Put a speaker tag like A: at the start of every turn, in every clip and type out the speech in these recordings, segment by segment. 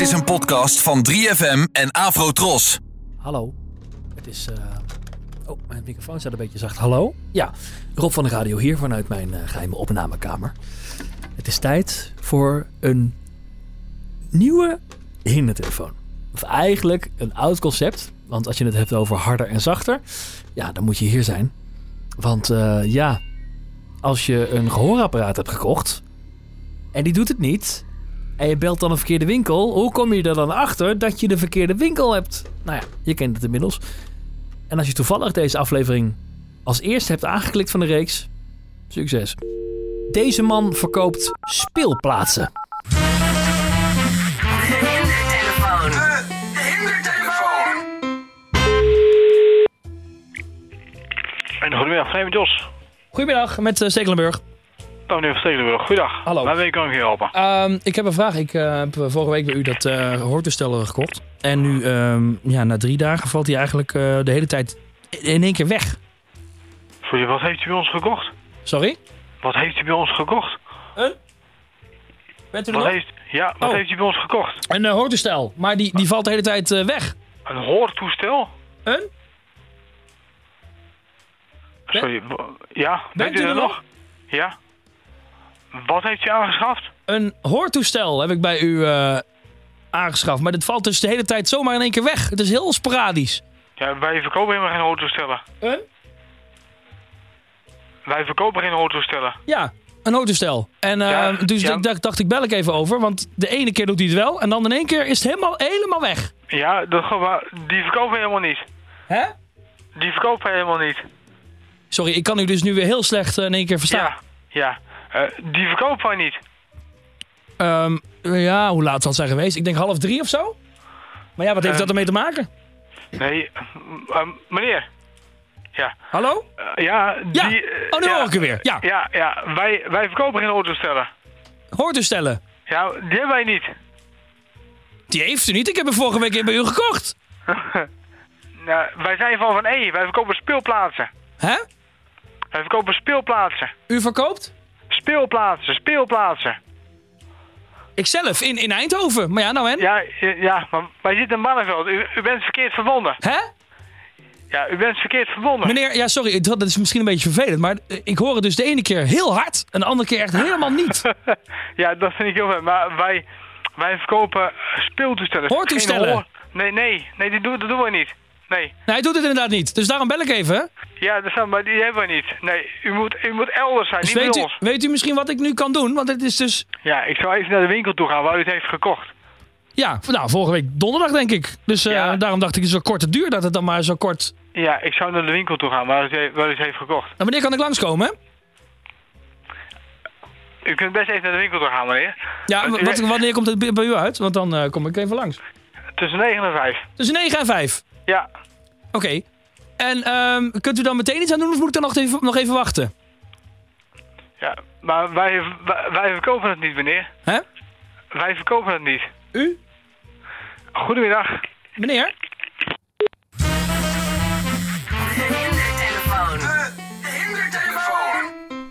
A: is een podcast van 3FM en Afrotros.
B: Hallo. Het is. eh, Oh, mijn microfoon staat een beetje zacht. Hallo? Ja, Rob van de Radio hier vanuit mijn eh, geheime opnamekamer. Het is tijd voor een nieuwe hindertelefoon. Of eigenlijk een oud concept. Want als je het hebt over harder en zachter, ja, dan moet je hier zijn. Want eh, ja, als je een gehoorapparaat hebt gekocht en die doet het niet, en je belt dan een verkeerde winkel. Hoe kom je er dan achter dat je de verkeerde winkel hebt? Nou ja, je kent het inmiddels. En als je toevallig deze aflevering als eerste hebt aangeklikt van de reeks, succes. Deze man verkoopt speelplaatsen.
C: En goedemiddag, mijn naam is Jos.
D: Goedemiddag, met eh, Stekelenburg.
C: Nou, meneer van Stekelenburg, goedendag.
D: Hallo.
C: Waarmee kan ik u helpen?
D: Ehm, ik heb een vraag. Ik eh, heb vorige week bij u dat eh hoortoestel gekocht. En nu, ehm, ja, na drie dagen valt hij eigenlijk eh, de hele tijd in één keer weg.
C: Sorry, wat heeft u bij ons gekocht?
D: Sorry?
C: Wat heeft u bij ons gekocht?
D: Bent u
C: Wat heeft, ja, wat
D: Oh.
C: heeft u bij ons gekocht?
D: Een eh, hoortoestel, maar die, die valt de hele tijd eh, weg.
C: Een hoortoestel?
D: Een?
C: Sorry, wa- ja,
D: Bent u er nog?
C: Ja. Wat heeft u aangeschaft?
D: Een hoortoestel heb ik bij u eh, aangeschaft. Maar dit valt dus de hele tijd zomaar in één keer weg. Het is heel sporadisch.
C: Ja, wij verkopen helemaal geen hoortoestellen.
D: Een?
C: Wij verkopen geen hoortoestellen.
D: Ja, een hoortoestel. En eh,
C: Ja,
D: dus
C: ja.
D: ik dacht, dacht, ik bel ik even over. Want de ene keer doet hij het wel. En dan in één keer is het helemaal, helemaal weg.
C: Ja, dat, ge- wa- die verkopen wij helemaal niet.
D: Hè?
C: Die verkopen wij helemaal niet.
D: Sorry, ik kan u dus nu weer heel slecht eh, in één keer verstaan.
C: Ja, ja. Eh, die verkopen wij niet.
D: Ja, Ehm, ja hoe laat zal het zijn geweest? Ik denk half drie of zo. Maar ja, wat heeft
C: Ehm.
D: dat ermee te maken?
C: Nee, eh, meneer. Ja,
D: Hallo?
C: eh, ja,
D: Ja.
C: die... eh,
D: oh, nu
C: ja,
D: hoor ik u weer. Ja,
C: Ja, ja, wij, wij verkopen geen autostellen.
D: hoortoestellen.
C: Ja, die hebben wij niet.
D: Die heeft u niet. Ik heb hem vorige week bij u gekocht.
C: Nou, wij zijn van van E, wij verkopen speelplaatsen.
D: Hè?
C: Wij verkopen speelplaatsen.
D: U verkoopt?
C: Speelplaatsen, speelplaatsen.
D: Ikzelf, in, in Eindhoven. Maar ja, nou en?
C: Ja, ja, ja, maar wij zitten in Barneveld. U, u bent verkeerd verbonden.
D: Hè?
C: Ja, u bent verkeerd verbonden.
D: Meneer, ja, sorry, dat dat is misschien een beetje vervelend. Maar eh, ik hoor het dus de ene keer heel hard en de andere keer echt helemaal niet.
C: ja, dat vind ik heel fijn. Maar wij, wij verkopen speeltoestellen.
D: Hoortoestellen?
C: Geen hoor- Nee, nee, nee, die doen, dat doen wij niet. Nee.
D: Nee, hij doet het inderdaad niet. Dus daarom bel ik even. hè?
C: Ja, dat zijn, maar die hebben we niet. Nee, u moet, u moet elders zijn,
D: Dus
C: niet
D: weet
C: bij
D: u,
C: ons.
D: weet u misschien wat ik nu kan doen? Want het is dus
C: Ja, ik zou even naar de winkel toe gaan waar u het heeft gekocht.
D: Ja, nou, vorige week donderdag denk ik. Dus eh,
C: Ja.
D: daarom dacht ik, zo korte duur dat het dan maar zo kort...
C: Ja, ik zou naar de winkel toe gaan waar u het, he- waar u het heeft gekocht.
D: Nou, wanneer kan ik langskomen? hè?
C: U kunt best even naar de winkel toe gaan, meneer.
D: Ja,
C: Eh,
D: w- wat,
C: eh.
D: wanneer komt het bij- bij u uit? Want dan eh, kom ik even langs.
C: Tussen 9 en 5.
D: Tussen 9 en 5.
C: Ja,
D: Oké. En ehm, kunt u dan meteen iets aan doen of moet ik dan nog even, nog even wachten?
C: ja. Maar wij, wij, wij verkopen het niet, meneer.
D: Hè?
C: Wij verkopen het niet.
D: U?
C: Goedemiddag.
D: Meneer?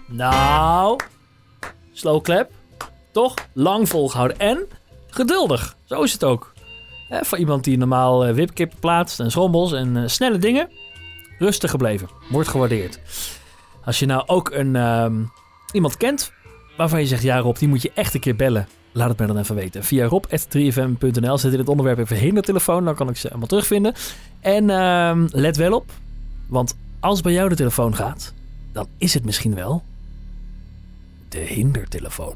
B: Nou, slow clap. Toch? Lang volgehouden en geduldig. Zo is het ook. Hè, voor iemand die normaal eh, wipkippen plaatst en schrommels en eh, snelle dingen. Rustig gebleven. Wordt gewaardeerd. Als je nou ook een, ehm, iemand kent waarvan je zegt... Ja Rob, die moet je echt een keer bellen. Laat het mij dan even weten. Via rob.3fm.nl zet in het onderwerp even hindertelefoon. Dan kan ik ze allemaal terugvinden. En ehm, let wel op. Want als bij jou de telefoon gaat... dan is het misschien wel de hindertelefoon.